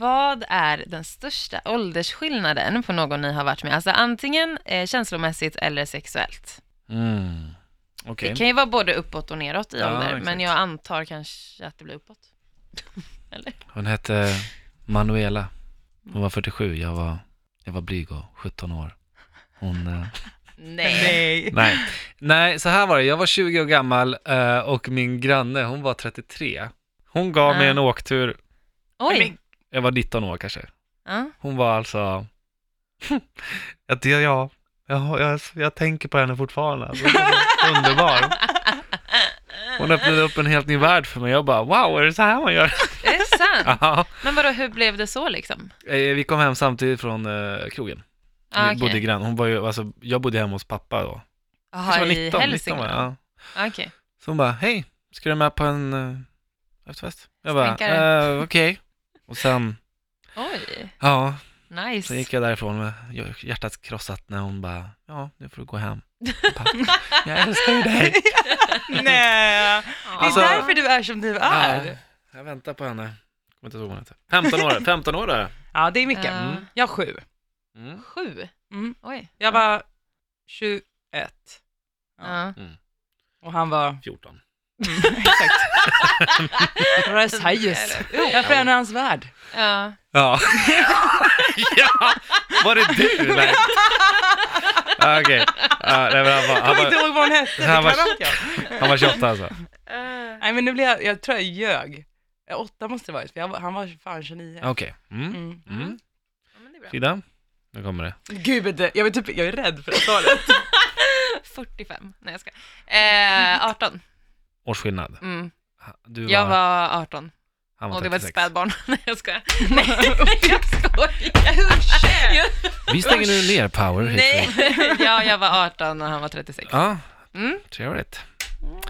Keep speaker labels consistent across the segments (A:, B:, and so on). A: Vad är den största åldersskillnaden på någon ni har varit med? Alltså antingen eh, känslomässigt eller sexuellt.
B: Mm. Okej.
A: Det kan ju vara både uppåt och neråt i
B: Ja,
A: ålder, men
B: exakt.
A: jag antar kanske att det blir uppåt.
B: Hon hette Manuela. Hon var 47. Jag var, jag var blyg och 17 år. Hon... eh,
A: Nej.
B: Nej. Nej, så här var det. Jag var 20 år gammal eh, och min granne, hon var 33. Hon gav mig
A: Ah.
B: en åktur.
A: Oj.
B: Jag var 19 år kanske.
A: Ja.
B: Hon var alltså... jag, jag, jag, jag, jag, jag tänker på henne fortfarande. Alltså, hon är underbar. Hon öppnade upp en helt ny värld för mig. Jag bara, wow, är det så här man gör?
A: Är det sant?
B: Ja.
A: Men vadå, hur blev det så liksom?
B: Eh, Vi kom hem samtidigt från eh, krogen. Vi
A: Ah, okej.
B: bodde grann. Hon var ju, alltså, jag bodde hemma hos pappa då.
A: Jaha,
B: Kanske var
A: i
B: 19, 19 var jag.
A: Hälsingland?
B: Ja.
A: Ah, Okej.
B: Så hon bara, hej, ska du med på en uh, efterfest? Jag bara,
A: Stänkare.
B: eh, okej. Och sen,
A: Oj,
B: ja,
A: nice.
B: sen gick jag därifrån med hjärtat krossat när hon bara, ja, nu får du gå hem. Jag bara, Jag älskar ju dig.
C: Nej, det är
B: Alltså-
C: därför du är som du är.
B: jag väntar på henne. Kommer inte ihåg vad hon heter. 15 år, 15 år är det.
C: Ja, det är mycket.
A: Ja.
B: Mm.
C: Jag har sju.
B: Mm.
A: Sju?
C: Mm.
A: Oj.
C: Jag var 21
A: Ja.
C: och han var...
B: 14.
C: Exakt. Rasaius. Jag förändrar hans värld.
A: Ja.
B: Ja. ja, var det du? Nej. Ah, Okej, ah, nej, men han, var,
C: Jag
B: han,
C: kommer inte
B: var,
C: ihåg vad hon hette.
B: Han
C: Det
B: var-
C: kan jag.
B: han var 28 alltså.
A: Eh,
C: Nej men nu blev jag, jag tror jag ljög. Ja, Åtta måste det varit, för jag, var- han var fan 29.
B: Okej. Mm.
C: Mm.
B: Mm.
A: ja, men det är bra.
B: Frida, nu kommer det.
C: Gud, jag, är typ, jag är rädd för att ta det.
A: 45. Nej, jag ska. Eh, 18.
B: Årsskillnad.
A: Mm.
B: Du var,
A: Jag var 18
B: han
A: och det var ett
B: 36.
A: spädbarn. Nej, jag skojar. Nej, jag skojar. Jag-
B: Vi stänger nu ner Power. heter
A: Nej,
B: det.
A: ja, jag var 18 och han var 36.
B: Ja,
A: Mm.
B: trevligt.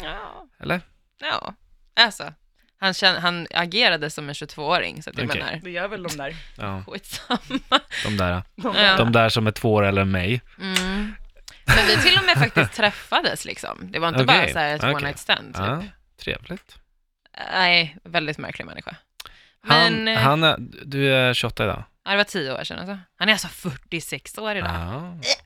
A: Ja.
B: Eller?
A: ja, alltså. Han, kände, han agerade som en 22-åring, så att jag
B: Okej.
A: menar,
C: Det gör väl de där.
B: Ja,
A: skitsamma.
B: de där.
C: De där.
A: Ja.
B: De där som är två år eller mig.
A: Mm. Men vi till och med faktiskt träffades liksom. Det var inte bara
B: Okej,
A: så här ett
B: okej.
A: one night stand. Typ.
B: Ja, trevligt.
A: Nej, väldigt märklig människa. Men
B: Han,
A: eh,
B: han är, du är 28 idag?
A: ja, det var tio år sedan alltså. Han är alltså 46 år idag.
B: Ja.